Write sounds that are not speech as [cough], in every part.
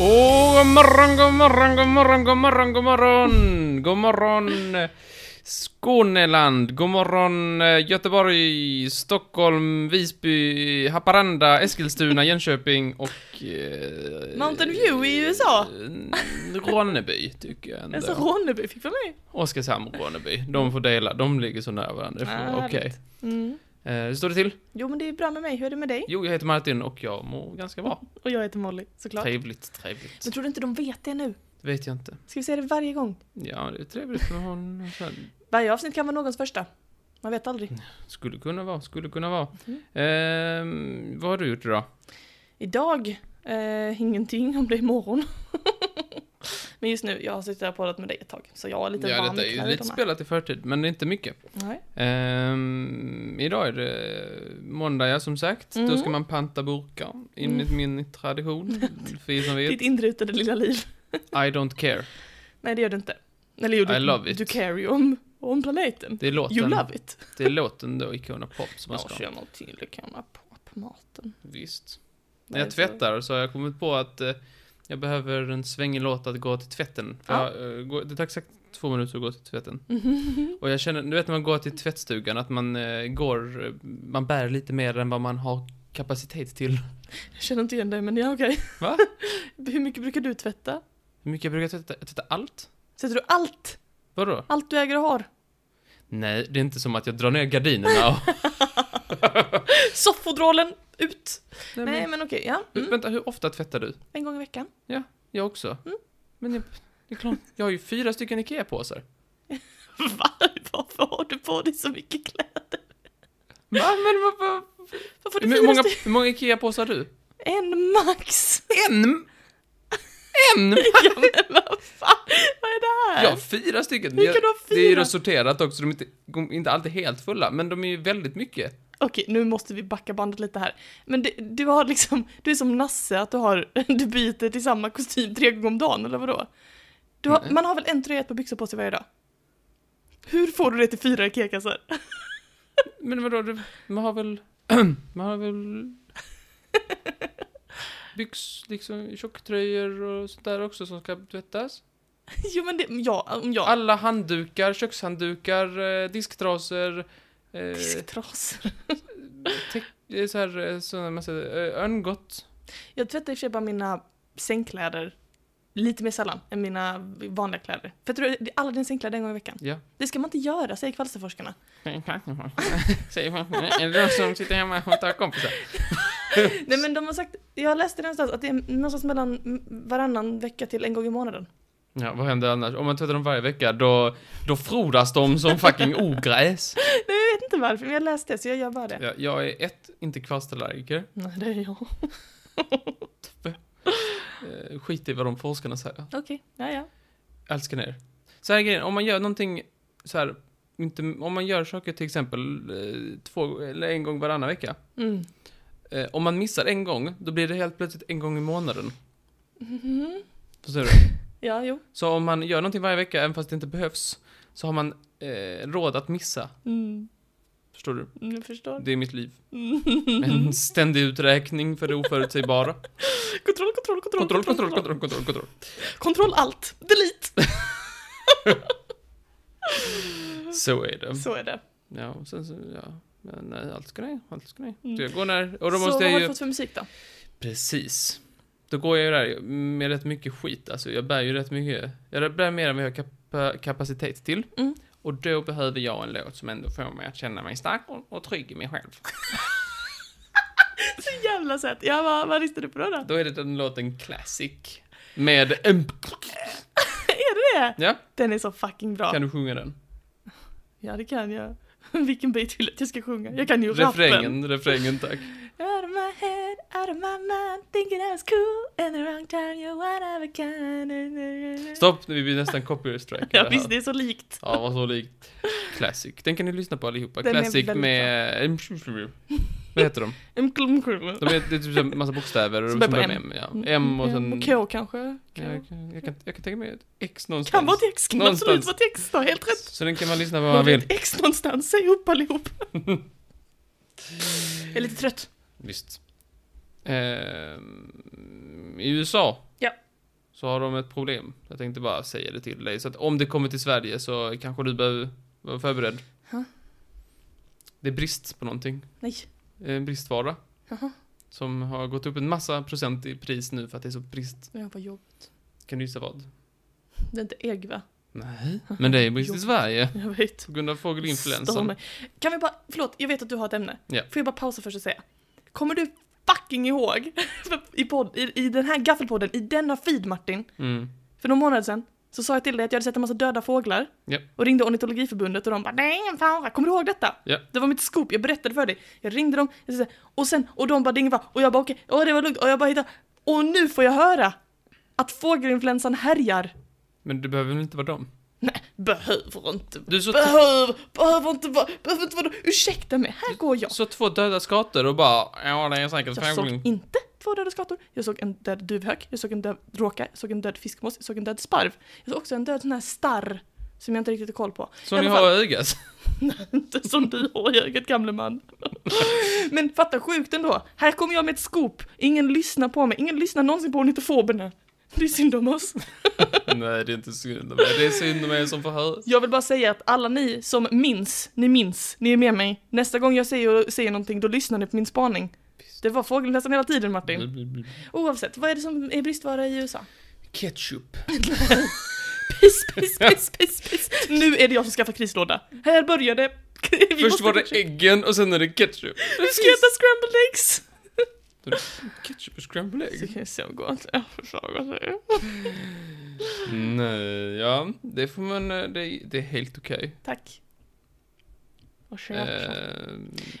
Åh, god morgon, god morgon, god morgon, god morgon, god morgon! God morgon eh, Skåneland, god morgon eh, Göteborg, Stockholm, Visby, Haparanda, Eskilstuna, Jönköping och... Eh, Mountain View i USA. eh, Ronneby, tycker jag Alltså ändå. Ronneby fick för mig. Oskarshamn och Ronneby. De får dela, de ligger så nära varandra. Det får Ah, vara Okej. härligt. Mm. Eh, Hur står det till? Jo men det är bra med mig, hur är det med dig? Jo, jag heter Martin och jag mår ganska bra. Och jag heter Molly, såklart. Trevligt, Men trevligt. tror du inte de vet det nu? Det vet jag inte. Ska vi säga det varje gång? Ja, det är trevligt med honom. Varje avsnitt kan vara någons första. Man vet aldrig. Skulle kunna vara, skulle kunna vara. Mhm. Ehm, vad har du gjort idag? Idag, eh, ingenting om det är imorgon. [laughs] men just nu, jag har suttit här och poddat med dig ett tag. Så jag är lite ja, varm detta är i ju lite kläderna. spelat i förtid, men inte mycket. Nej. Ehm, idag är det måndag, ja, som sagt. Då Mm. ska man panta burkar, enligt min [laughs] tradition. För er som vet, Ditt inrutade lilla liv. [laughs] I don't care. Nej det gör du inte. Eller jo, du, I love it. du care ju om, om planeten. Det är låten, You love it. det är låten då, Icona Pop, som man Ja, ska. kör något till, det kan man på på maten. Visst. När Nej, jag så- tvättar så har jag kommit på att eh, jag behöver en svängig låt att gå till tvätten. För Ja. jag, eh, går, det tar exakt två minuter att gå till [laughs] tvätten. Mhm. Och jag känner, du vet när man går till tvättstugan, att man eh, går, eh, man bär lite mer än vad man har kapacitet till. Jag känner inte igen dig, men ja okej. Va? [laughs] Hur mycket brukar du tvätta? Hur mycket jag brukar tvätta? Jag tvättar allt? Sätter du allt? Vadå? Allt du äger och har? [laughs] Nej, det är inte som att jag drar ner gardinerna och... Soffodralen ut! [laughs] Nej, Nej men, men okej, ja. Mm. Vänta, hur ofta tvättar du? En gång i veckan. Jag också. Mm. Men jag, det är klart, jag har ju fyra stycken IKEA-påsar. [laughs] Va? Varför har du på dig så mycket kläder? Va? Men vad... vad- Varför har Men du Hur fyra många, stycken? hur många IKEA-påsar har du? En max! En! En! [laughs] ja men vad fan, vad är det här? Jag har fyra stycken. Hur Jag, kan du ha det är ju fyra? då sorterat också, de är inte, de är inte alltid helt fulla, men de är ju väldigt mycket. Okej, nu måste vi backa bandet lite här. Men det, du har liksom, du är som Nasse att du har, [laughs] du byter till samma kostym tre gånger om dagen eller vadå? Du har, Nej. man har väl en tröja och ett par byxor på sig varje dag? Hur får du det till fyra IKEA-kassar? Men vadå, du- man har väl... [clears throat] Man har [laughs] väl... Byx, liksom tjocktröjor och sånt där också som ska tvättas. [laughs] Jo men det, ja, om jag... Alla handdukar, kökshanddukar, eh, disktrasor, eh, Disktrasor. täck, eh, så här, eh, såna massa, eh, örngott. Jag tvättar i och för sig bara mina sängkläder lite mer sällan än mina vanliga kläder. För jag tror det är alla dina sängkläder en gång i veckan. Ja. Det ska man inte göra, säger kvalsterforskarna. Säger man. En röst som sitter hemma och tar kompisar. Nej men de har sagt, jag läste det någonstans, att det är någonstans mellan varannan vecka till en gång i månaden. Ja, vad händer annars? Om man tvättar dem varje vecka, då, då frodas de som fucking ogräs. [laughs] Nej, jag vet inte varför, men jag läste det så jag gör bara det. Ja, jag är ett, inte kvasterallergiker. Nej, det är jag. Eh, skit i vad de forskarna säger. Okej, ja, ja. Älskar ner. Så här är grejen, om man gör någonting så här, inte, om man gör saker till exempel eh, två eller en gång varannan vecka. Mm. Eh, om man missar en gång, då blir det helt plötsligt en gång i månaden. Mm-hmm. Mhm. Förstår du? Ja, jo. Så om man gör någonting varje vecka, även fast det inte behövs, så har man eh, råd att missa. Mm. Förstår du? Mm, Jag förstår. Det är mitt liv. Mm. En ständig uträkning för det [laughs] oförutsägbara. Kontroll, kontroll, kontroll. Kontroll, kontroll, kontroll, kontroll, kontroll. Kontroll allt. Delete. Så är det. Så är det. Ja, och sen så, ja. Men nej, allt ska ner, allt ska ner. Mm. Så jag går när, och då så måste vad jag har ju... du fått för musik då? Precis. Då går jag ju där med rätt mycket skit, alltså jag bär ju rätt mycket, jag bär mer än vad jag har kapa- kapacitet till. Mm. Och då behöver jag en låt som ändå får mig att känna mig stark och, och trygg i mig själv. Så jävla söt. Ja, vad, vad lyssnar du på då? då? Då är det den låten Classic. Med en... är det det? Ja, Den är så fucking bra. kan du sjunga den? Ja, det kan jag. [laughs] Vilken bit vill du att jag ska sjunga? Jag kan ju rappen. Refrängen, refrängen tack. Out of my head, out of my mind, thinking I was cool and the wrong time, you're one of a kind. Stopp, vi blir nästan copyright strike. Ja, visst, det är så likt. Ja, vad så likt. Classic. Den kan ni lyssna på allihopa. Den är Classic väldigt med... Vad heter de? De de är, det är typ en massa bokstäver och Som som börjar på börjar med M. M. Ja. M och sen... Mm, K kanske? K. Ja, jag, kan, jag, kan, jag kan tänka mig ett X någonstans. Kan vara ett X, kan Någonstans. absolut vara ett X då, helt rätt. Så den kan man lyssna på vad man Det är vill. ett X någonstans, säg [laughs] upp allihop. jag är lite trött. Visst. Ehm, I USA. Ja. så har de ett problem. Jag tänkte bara säga det till dig. Så att om det kommer till Sverige så kanske du behöver vara förberedd. Ja. Det är brist på någonting. Nej. En Eh, bristvara. Jaha. Som har gått upp en massa procent i pris nu för att det är så brist. Men vad jobbigt. Kan du gissa vad? Det är inte ägg va? Nej. Men det är brist i Jo. Sverige. Jag vet. På grund av Stör fågelinfluensan. mig. Kan vi bara, förlåt, jag vet att du har ett ämne. Ja. Får jag bara pausa först och säga? Kommer du fucking ihåg [laughs] i, podd, i, i den här gaffelpodden, i denna feed Martin, Mm. för några månader sedan, så sa jag till dig att jag hade sett en massa döda fåglar Ja. och ringde ornitologiförbundet och de bara det är ingen fara, kommer du ihåg detta? Ja. Det var mitt scoop, jag berättade för dig. Jag ringde dem jag sa, så här, och sen, och de bara det är ingen fara, och jag bara okej, och det var lugnt, och jag bara hittade, och nu får jag höra att fågelinfluensan härjar. Men du behöver väl inte vara dem? Nej, behöver inte Du så, Behöver, behöver inte vara, behöver inte vara, ursäkta mig, här går jag. så två döda skator och bara ja det är säkert Jag såg fågelin. inte två döda skator, jag såg en död duvhök, jag såg en död råka, jag såg en död fiskmås, jag såg en död sparv. Jag såg också en död sån här starr, som jag inte riktigt har koll på. I Så ni alla fall- har ögat? [laughs] [laughs] Inte som du har Jörgen gamle man. Men fatta sjukt ändå. Här kommer jag med ett scoop. Ingen lyssnar på mig. Ingen lyssnar någonsin på ornitofoberna. Det är synd om [laughs] oss. Nej det är inte synd om mig. Det är synd om er som får höra. Jag vill bara säga att alla ni som minns, ni minns, ni är med mig. Nästa gång jag säger, säger någonting, då lyssnar ni på min spaning. Det var fågelnästan hela tiden Martin. Oavsett, vad är det som är bristvara i USA? [laughs] Ketchup. Piss, piss, piss, piss, piss. Nu är det jag som skaffar krislåda. Här började... [laughs] Vi Först måste- var det äggen och sen är det ketchup. Vi ska äta scrambled eggs! Ketchup och scrambled Det egg. kan ju se gott. Jag förstår vad det är. Nej, ja. Det får man, eh, det, är- det är helt okej. Tack. Och självklart. Eh,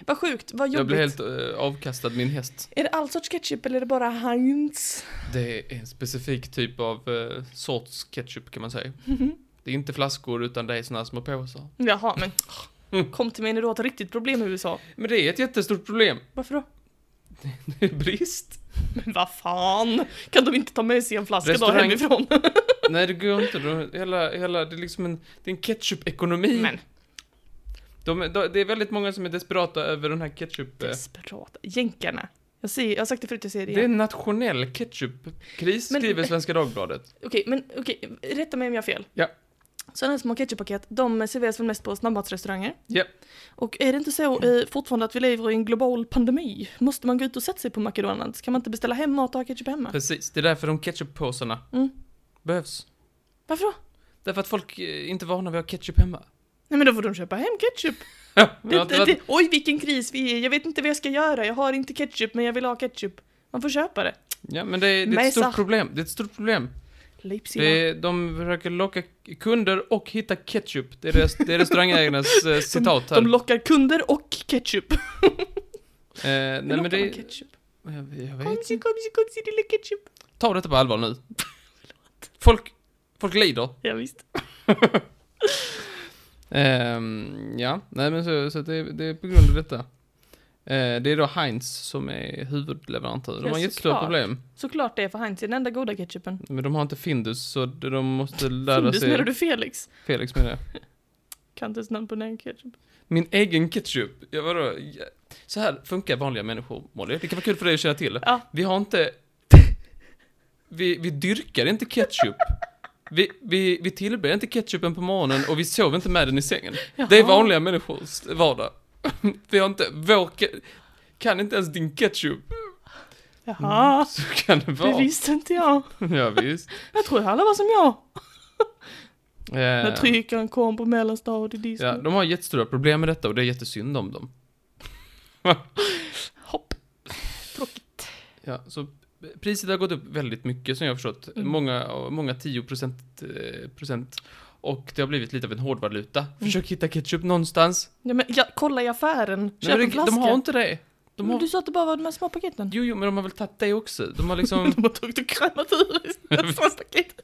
Vad sjukt, vad jag jobbigt. blev helt eh, avkastad min häst. Är det all sorts ketchup eller är det bara Heinz? Det är en specifik typ av eh, sorts ketchup kan man [laughs] säga. Det är inte flaskor utan det är såna här små påsar. Jaha, [laughs] men kom till mig när du har ett riktigt problem i USA. Men det är ett jättestort problem. [laughs] Varför då? Det är brist. Men vad fan! Kan de inte ta med sig en flaska då Restaurang- hemifrån? Nej, det går inte. De- Hela, hela, det är liksom en, det är en ketchup-ekonomi. men De, de, det är väldigt många som är desperata över den här ketchup... eh, desperata jänkarna. Jag, säger, jag har sagt det förut, jag säger det Det är igen. en nationell ketchupkris, Men- skriver Svenska Dagbladet. Okej, men okej, rätta mig om jag har fel. Ja. Sådana här små ketchuppaket, de serveras väl mest på snabbmatsrestauranger? Ja. Och är det inte så eh, fortfarande att vi lever i en global pandemi? Måste man gå ut och sätta sig på McDonalds? Kan man inte beställa hem mat och ha ketchup hemma? Precis, det är därför de ketchuppåsarna Mm. behövs. Varför då? Därför att folk eh, inte är vana vid att ha ketchup hemma. Nej men då får de köpa hem ketchup. Ja, men Det, att- det, det, oj vilken kris vi är i. jag vet inte vad jag ska göra, jag har inte ketchup men jag vill ha ketchup. Man får köpa det. ja men det är, det är ett Mesa. stort problem. Det är ett stort problem. Leipzig. Det är, de försöker locka kunder och hitta ketchup. Det är, res, det är [laughs] restaurangägarnas eh, citat här. De lockar kunder och ketchup. eh, nej Lockar men det man är... ketchup. Jag, jag Kom vet si, kom si, kom si, lilla ketchup. Ta detta på allvar nu. [laughs] Folk, folk lider. Ja, visst. Ehm, ja, nej men så, så att det, det är på grund av detta. Eh, det är då Heinz som är huvudleverantör. De Ja, har jättestora såklart. problem. Såklart det är för Heinz är den enda goda ketchupen. Men de har inte Findus så de måste lära Fundus menar sig... du Felix? Felix menar jag. Kan inte ens namn på den här ketchup. Min egen ketchup. Ja, vadå? Ja. Så här funkar vanliga människor, Molly. Det kan vara kul för dig att känna till. Ja. Vi har inte... Vi, vi dyrkar inte ketchup. Vi, vi, vi tillber inte ketchupen på morgonen och vi sover inte med den i sängen. Det är Jaha. vanliga människors vardag. Vi har inte vår... ke- Kan inte ens din ketchup. Jaha, Så kan det det vara. visste inte jag. Ja, visst. Jag tror alla var som jag. Eh, När tryckaren kom på mellanstadiet i ja, ja, de har jättestora problem med detta och det är jättesynd om dem. [laughs] Hopp. Ja, så priset har gått upp väldigt mycket som jag har förstått. Mm. Många, många 10 procent, procent. Och det har blivit lite av en hårdvaluta. Mm. Försök hitta ketchup någonstans. Ja, men jag, kolla i affären. Nej, Köp men en det, flaska. de har inte det. De Men har, Du sa att det bara var de här [laughs] små paketen. jo, jo, men de har väl tagit det också. [laughs] De har liksom... De har tagit och [laughs] krämat ur i små paket.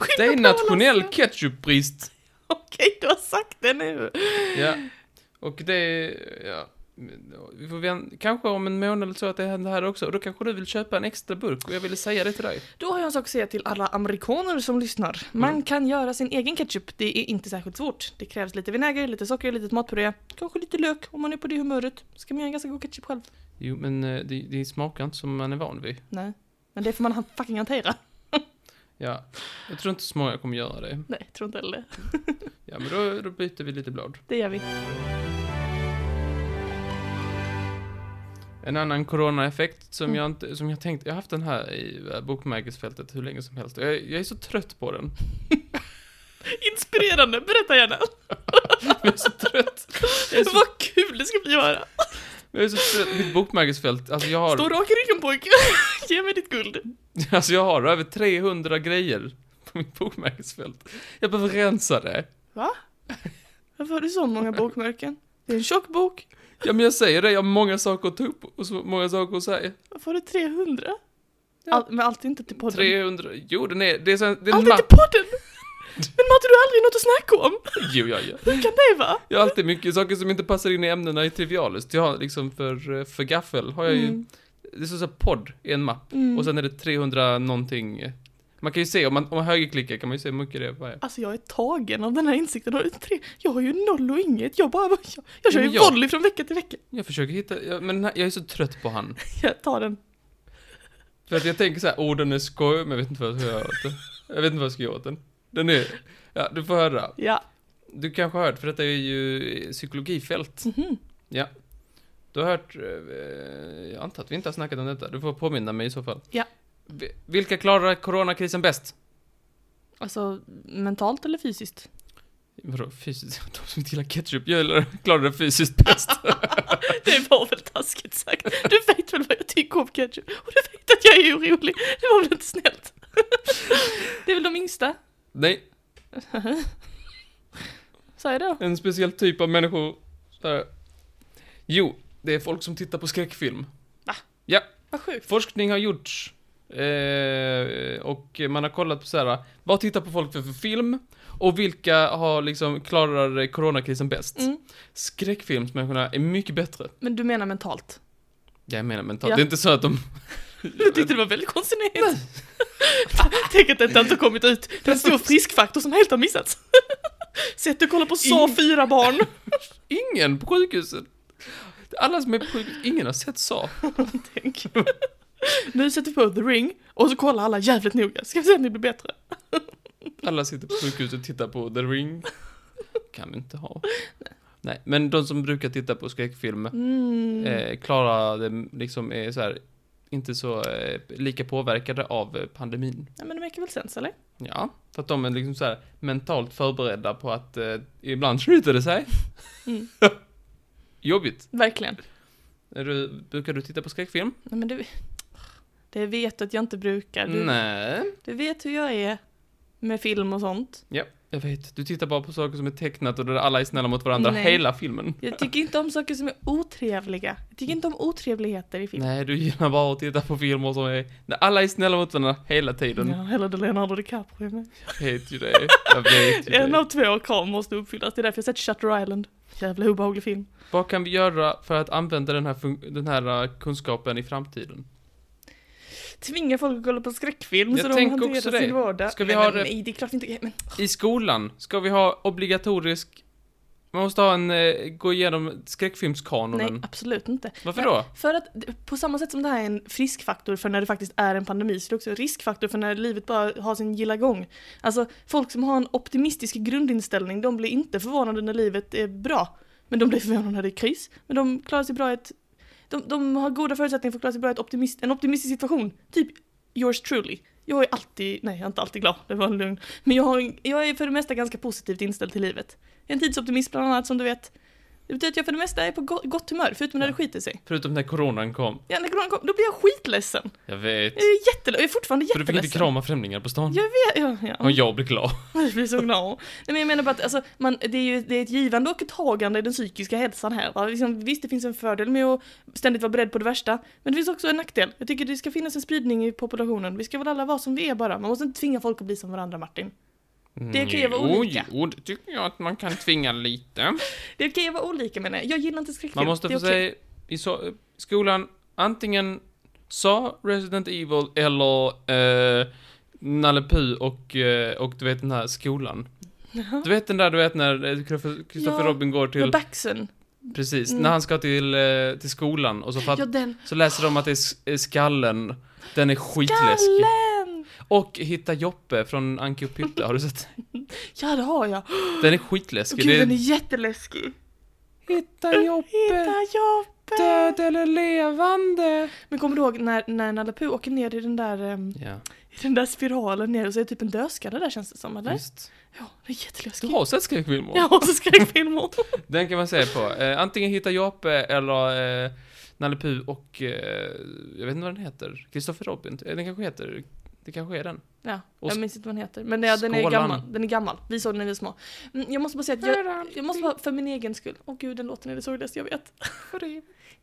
Skynda Det är på, nationell Lasse. ketchupbrist. Okej, du har sagt det nu. Ja. Och det är... Ja. Vi får vän- kanske om en månad eller så att det händer här också. Och då kanske du vill köpa en extra burk och jag ville säga det till dig. Då har jag en sak att säga till alla amerikaner som lyssnar. Man Mm. kan göra sin egen ketchup, det är inte särskilt svårt. Det krävs lite vinäger, lite socker, lite matpuré, kanske lite lök om man är på det humöret. Ska man göra en ganska god ketchup själv? Jo, men eh, det, det smakar inte som man är van vid. Nej. Men det får man han- fucking hantera. Ja, jag tror inte så många kommer göra det. Nej, tror inte heller det. Ja, men då, då byter vi lite blad. Det gör vi. En annan coronaeffekt som jag inte, som jag tänkt, jag har haft den här i eh, bokmärkesfältet hur länge som helst. Jag, jag är så trött på den. Inspirerande, berätta gärna. [laughs] Jag är så trött. Jag är så, Vad kul det ska bli att höra. jag är så trött. Mitt bokmärkesfält, alltså jag Stå har, rak i ryggen pojke. [laughs] Ge mig ditt guld. [laughs] alltså jag har över 300 grejer på mitt bokmärkesfält. Jag behöver rensa det. Varför har du så många bokmärken? Det är en tjock bok. Ja, men jag säger det, jag har många saker att ta upp och så många saker att säga. Varför har du 300? Ja. All, men allt är inte till podden. 300, jo den är, det är, så, det är en Allt är mapp. till podden! Men Matte, du har aldrig något att snacka om! Jo, ja, ja. Hur kan det vara? Jag har alltid mycket saker som inte passar in i ämnena i trivialist. Jag har liksom för, eh, för gaffel har jag ju, Mm. det står såhär podd i en mapp. Mm. Och sen är det 300 någonting. eh. Man kan ju se, om man, om man högerklickar kan man ju se hur mycket det är. på varje. Alltså jag är tagen av den här insikten. Har du tre? Jag har ju noll och inget. Jag bara... Jag, jag kör Men ju jag- volley från vecka till vecka. [laughs] Jag försöker hitta, jag, men den här, jag är så trött på han. Jag tar den. För att jag tänker så här, åh den är skoj, men jag vet inte vad jag ska göra åt den. Jag vet inte vad jag ska göra åt den. Den är, ja du får höra. Ja. Du kanske har hört, för detta är ju eh, psykologifält. Mhm. Ja. Du har hört, eh, jag antar att vi inte har snackat om detta, du får påminna mig i så fall. Ja. Vi- Vilka klarar coronakrisen bäst? Alltså mentalt eller fysiskt? Vadå fysiskt? [laughs] De som inte gillar ketchup jag klarar det fysiskt [laughs] bäst. Det var väl taskigt sagt. Du vet väl vad jag tycker om ketchup? Och du vet att jag är orolig. Det var väl inte snällt? Det är väl de yngsta? Nej, Sa jag då? en speciell typ av människor. Så här. Jo, det är folk som tittar på skräckfilm. Vad sjukt. Forskning har gjorts. Eh, och man har kollat på så här, vad tittar på folk för, för film? Och vilka har liksom, klarar eh, coronakrisen bäst? Mm. Skräckfilmsmänniskorna är mycket bättre. Men du menar mentalt? Jag menar mentalt, Ja. det är inte så att de... [laughs] Jag tyckte det var väldigt konstigt. [laughs] Tänk att detta inte har kommit ut. Det är en stor friskfaktor som helt har missats. [laughs] Sätt och kolla på Sa Ing- fyra barn. Ingen på sjukhuset! Alla som är på sjukhuset, ingen har sett så. [laughs] Tänk. Nu sätter vi på The Ring och så kollar alla jävligt noga. Ska vi se om det blir bättre? Alla sitter på sjukhuset och tittar på The Ring. Kan vi inte ha. Nej, men de som brukar titta på skräckfilm Mm. eh, klarar det liksom är så här, inte så eh, lika påverkade av eh, pandemin. Ja men det märker väl sens eller? Ja, för att de är liksom så här mentalt förberedda på att eh, ibland skjuter det sig. Mm. Jobbigt. Verkligen. Är du, brukar du titta på skräckfilm? Nej men du... Det vet du att jag inte brukar. Du, Nej. du vet hur jag är med film och sånt. Ja, jag vet. Du tittar bara på saker som är tecknat och där alla är snälla mot varandra Nej. hela filmen. Jag tycker inte om saker som är otrevliga. Jag tycker inte om otrevligheter i film. Nej, du gillar bara att titta på filmer som är... Där alla är snälla mot varandra hela tiden. Ja, eller det är Leonardo DiCaprio med. Jag vet ju det. Jag vet ju [laughs] Typ En av det. två krav måste uppfyllas, det är därför jag sett Shutter Island. Jävla obehaglig film. Vad kan vi göra för att använda den här, fun- den här eh, kunskapen i framtiden? Tvinga folk att kolla på skräckfilm Jag så de tänker hanterar också det. sin vardag. Ska vi ha nej, men, det- nej, det är klart vi inte... Men, I skolan ska vi ha obligatorisk... Man måste ha en... Eh, gå igenom skräckfilmskanonen. nej, absolut inte. Varför då? För att det- på samma sätt som det här är en friskfaktor för när det faktiskt är en pandemi så är det också en riskfaktor för när livet bara har sin gilla gång. Alltså folk som har en optimistisk grundinställning de blir inte förvånade när livet är bra. Men de blir förvånade när det är kris. Men de klarar sig bra i ett... De, de har goda förutsättningar för att klara sig bra i ett optimist, en optimistisk situation. Typ yours truly. Jag är alltid, nej jag är inte alltid glad, det var en lugn. Men jag, har, jag är för det mesta ganska positivt inställd till livet. Jag är en tidsoptimist bland annat som du vet. Det betyder att jag för det mesta är på go- gott humör, förutom när Ja. det skiter sig. Förutom när coronan kom. Ja, när coronan kom, då blir jag skitledsen. Jag vet. Jag är jätteledsen, jag är fortfarande För du fick jätteledsen. inte krama främlingar på stan. Jag vet, ja, Och ja. jag blir glad. [laughs] Jag blir så glad. Nej men jag menar bara att alltså, man, det är ju det är ett givande och ett tagande i den psykiska hälsan här. Va? Liksom, visst, det finns en fördel med att ständigt vara beredd på det värsta. Men det finns också en nackdel. Jag tycker det ska finnas en spridning i populationen. Vi ska väl alla vara som vi är bara. Man måste inte tvinga folk att bli som varandra, Martin. Det kan ju vara Mm, Jo, olika. Jo, det tycker jag att man kan tvinga lite. Det är okej att vara olika menar jag. Jag gillar inte skräckfilm. Man måste Det är få okej. säga i so- skolan antingen sa Resident Evil eller eh, Nalle Puh och, eh, och du vet den här skolan. Jaha. Du vet den där du vet när eh, Christopher Christopher Ja, Robin går Men till, Baxen, precis, mm. när han ska till, eh, till skolan och så, fatt, ja den. eh, så läser de att det är s- är skallen, den är skitläskig. Gallen! Och Hitta Joppe från Anki och Pytte, har du sett? Ja, det har jag. Den är skitläskig. Gud, Det den är är... jätteläskig. Hitta Joppe, Hitta jobbet! död eller levande. Men kommer du ihåg när, när Nalle Puh åker ner i den där, ehm, Ja, i den där spiralen ner och så är det typ en dödskalle där känns det som, eller? just. Ja, det är Du jätteläskigt. har sett skräckfilmer? Ja, och så [laughs] skräckfilmer. Den kan man se på. Eh, antingen Hitta Joppe eller eh, Nalle Puh och, eh, jag vet inte vad den heter, Kristoffer Robin. Eh, Den kanske heter, det kanske är den. Ja, Och jag minns inte vad den heter. Men ja, den är Skålan. gammal. Den är gammal. Vi såg den när vi var små. Mm, Jag måste bara säga att jag, jag måste bara, för min egen skull. Åh gud, den låten är det sorgligaste jag vet.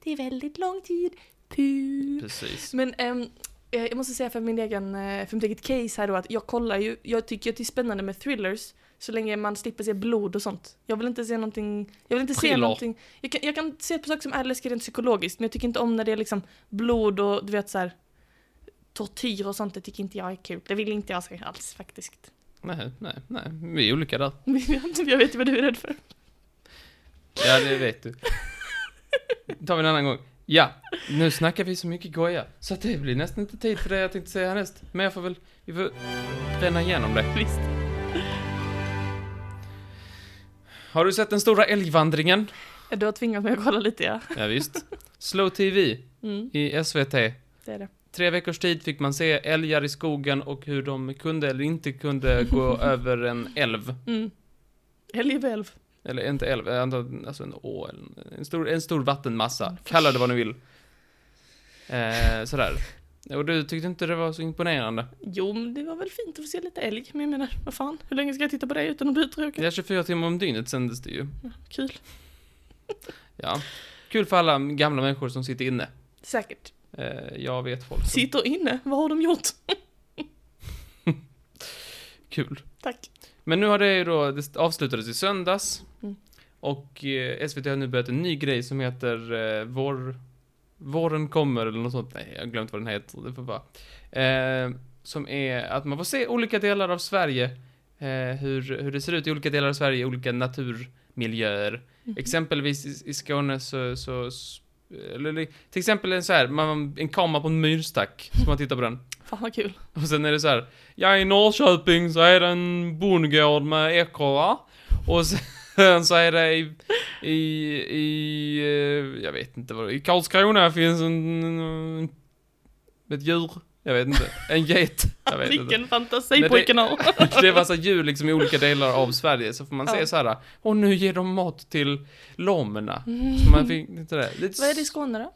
Det är väldigt lång tid. Puh. Precis. Men ehm, eh, jag måste säga för, min egen, eh, för mitt eget case här då att jag kollar ju, jag tycker att det är spännande med thrillers så länge man slipper se blod och sånt. Jag vill inte se någonting, jag vill inte se Thriller. någonting. Jag kan, jag kan se på saker som är läskiga rent psykologiskt men jag tycker inte om när det är liksom blod och du vet så här tortyr och sånt, det tycker inte jag är kul. Det vill inte jag se alls faktiskt. [laughs] Nej, nej, nej. Vi är olika där. jag vet ju vad du är rädd för. Ja, det vet du. tar vi en annan gång. Ja, nu snackar vi så mycket goja så att det blir nästan inte tid för det jag tänkte säga härnäst. Men jag får väl, vi får bränna igenom det. Visst. Har du sett den stora älgvandringen? Du har tvingat mig att kolla lite ja. Ja, visst. Slow TV Mm, i SVT. det är det. Tre veckors tid fick man se älgar i skogen och hur de kunde eller inte kunde gå över en älv. Mm. Älgvälv. Eller inte älv, eh, antar- alltså en å, eller en- en stor, en stor vattenmassa. Kalla det vad ni vill. Eh, sådär. Och du tyckte inte det var så imponerande. Jo, men det var väl fint att få se lite älg, men jag menar, vad fan, hur länge ska jag titta på det utan att bli uttråkad? Det är 24 timmar om dygnet sändes det ju. Kul. Ja. Kul för alla gamla människor som sitter inne. Säkert. Eh, jag vet folk som... Sitter inne, vad har de gjort? Kul. Tack. Men nu har det ju då, det avslutades i söndags. Mm. Och eh, SVT har nu börjat en ny grej som heter eh, Vår... Våren kommer eller något sånt. Nej, jag har glömt vad den heter. Det får vara. Eh, som är att man får se olika delar av Sverige. Eh, hur, hur det ser ut i olika delar av Sverige, olika naturmiljöer. Exempelvis i, i Skåne så, så s- eller, li- till exempel en så här, man, en kamera på en myrstack, så man tittar på den. Fan vad kul. Och sen är det så här, ja i Norrköping så är det en bondgård med ekorrar. Och sen så är det i, i, i eh, jag vet inte vad det- i Karlskrona finns en, en, ett djur, jag vet inte, en get, jag vet inte. Vilken Men fantasi det- Mm. [laughs] pojken har. Det är massa djur liksom i olika delar av Sverige, så får man Ja. se så här, och nu ger de mat till lamorna. Mm. Så man fick lite det. Lite, Vad är det i Skåne då?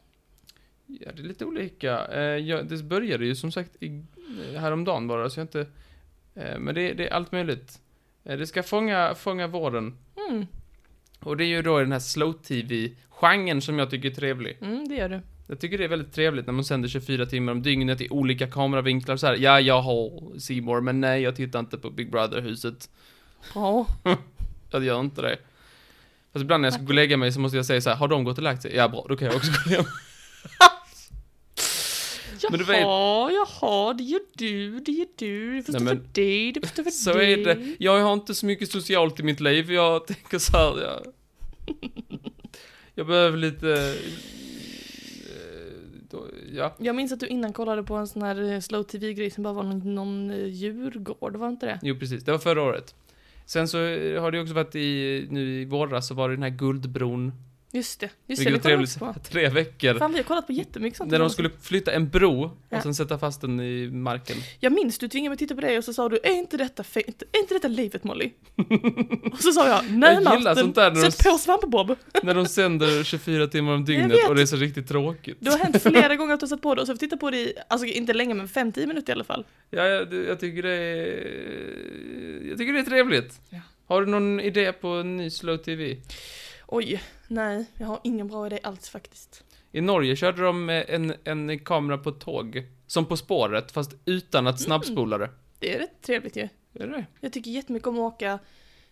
Ja, det är lite olika. Eh, jag, det började ju som sagt i, eh, häromdagen bara, så jag inte... Eh, men det, det är allt möjligt. Eh, det ska fånga, fånga våren. Mm, Och det är ju då den här slow-tv-genren som jag tycker är trevlig. mm det gör du. Jag tycker det är väldigt trevligt när man sänder 24 timmar om dygnet i olika kameravinklar så här. Ja, jag har C More, men nej, jag tittar inte på Big Brother-huset. Bra. Jag gör inte det. Fast ibland när jag ska gå och lägga mig så måste jag säga så här, har de gått och lagt sig? Ja, bra, då kan jag också gå och lägga mig. Jaha, Men du vet- jaha, det gör du, det gör du. Det får Nej, stå men- för dig, det får stå för Så dig. är det. Jag har inte så mycket socialt i mitt liv. Jag tänker så här, jag... Jag behöver lite... eh, då- Ja. Jag minns att du innan kollade på en sån här eh, slow tv-grej som bara var någon, någon eh, djurgård, var det inte det? Jo, precis. Det var förra året. Sen så har det också varit i, nu i våras så var det den här Guldbron. Just det, just det, Vilket det var trevligt. kollade vi [laughs] också Tre på. veckor. Fan, vi har kollat på jättemycket sånt. När de skulle flytta en bro och Ja. sen sätta fast den i marken. Jag minns, du tvingade mig att titta på dig och så sa du är inte detta, fe- inte, är inte detta livet Molly? [laughs] och så sa jag nej Jag gillar sånt där Martin, när de- sätt på svampebob. När de sänder [laughs] 24 timmar om dygnet vet. och det är så riktigt tråkigt. Det har hänt flera gånger att du har satt på det och så har vi tittat på det i, alltså inte länge men 5-10 minuter i alla fall. Ja, jag, jag tycker det är... Jag tycker det är trevligt. Ja. Har du någon idé på en ny slow TV? Oj, nej, jag har ingen bra idé alls faktiskt. I Norge körde de eh, en, en kamera på ett tåg. Som På spåret, fast utan Mm. att snabbspola det. Det är rätt trevligt ju. Är det Jag tycker jättemycket om att åka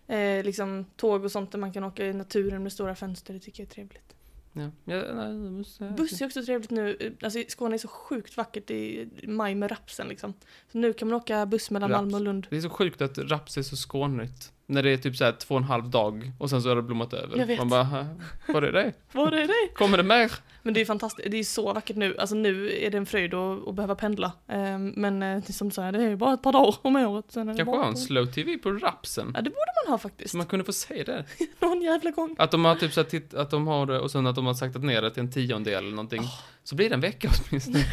eh, liksom, tåg och sånt där man kan åka i naturen med stora fönster, det tycker jag är trevligt. Ja. ja nej, jag måste... säga- Buss är också trevligt nu, Eh, alltså i Skåne är så sjukt vackert i maj med rapsen liksom. Så nu kan man åka buss mellan Raps. Malmö och Lund. Det är så sjukt att raps är så skånigt. När det är typ såhär två och en halv dag och sen så har det blommat över. Jag vet. Man bara, "Hä? var är det? Var är det? Kommer det [laughs] mer? Men det är fantastiskt, det är så vackert nu. Alltså nu är det en fröjd att, att behöva pendla. Ehm, Men eh, det är som så här, det är ju bara ett par dagar om året. Sen är det Kanske bara ha en på. slow tv på rapsen? Ja det borde man ha faktiskt. Så man kunde få se det. [laughs] Någon jävla gång. Att de har typ så här, titt- att de har det och sen att de har saktat ner det till en tiondel eller någonting. Så blir det en vecka åtminstone.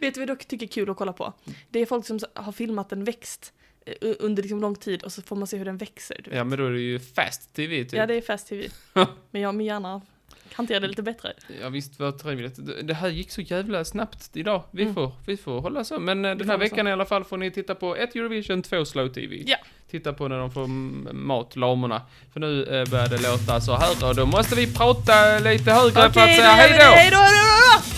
Vet du vad jag dock tycker är kul att kolla på? Mm. Det är folk som så- har filmat en växt eh, u- under liksom lång tid och så får man se hur den växer. Du [laughs] vet. Ja men då är det ju fast tv typ. Ja det är [laughs] fast tv. Men jag min hjärna hanterar det lite bättre. Ja visst, vad trevligt. Det- Det här gick så jävla snabbt idag. Vi, Mm. får, vi får hålla så. Men eh, Vi den får här hålla veckan i alla fall får ni titta på ett Eurovision, två Slow TV. Ja. Titta på när de får m- mat, lamorna. För nu eh, börjar det låta så här och då måste vi prata lite högre för att säga då gör vi hej det. då! Hej då, hej då, hej då!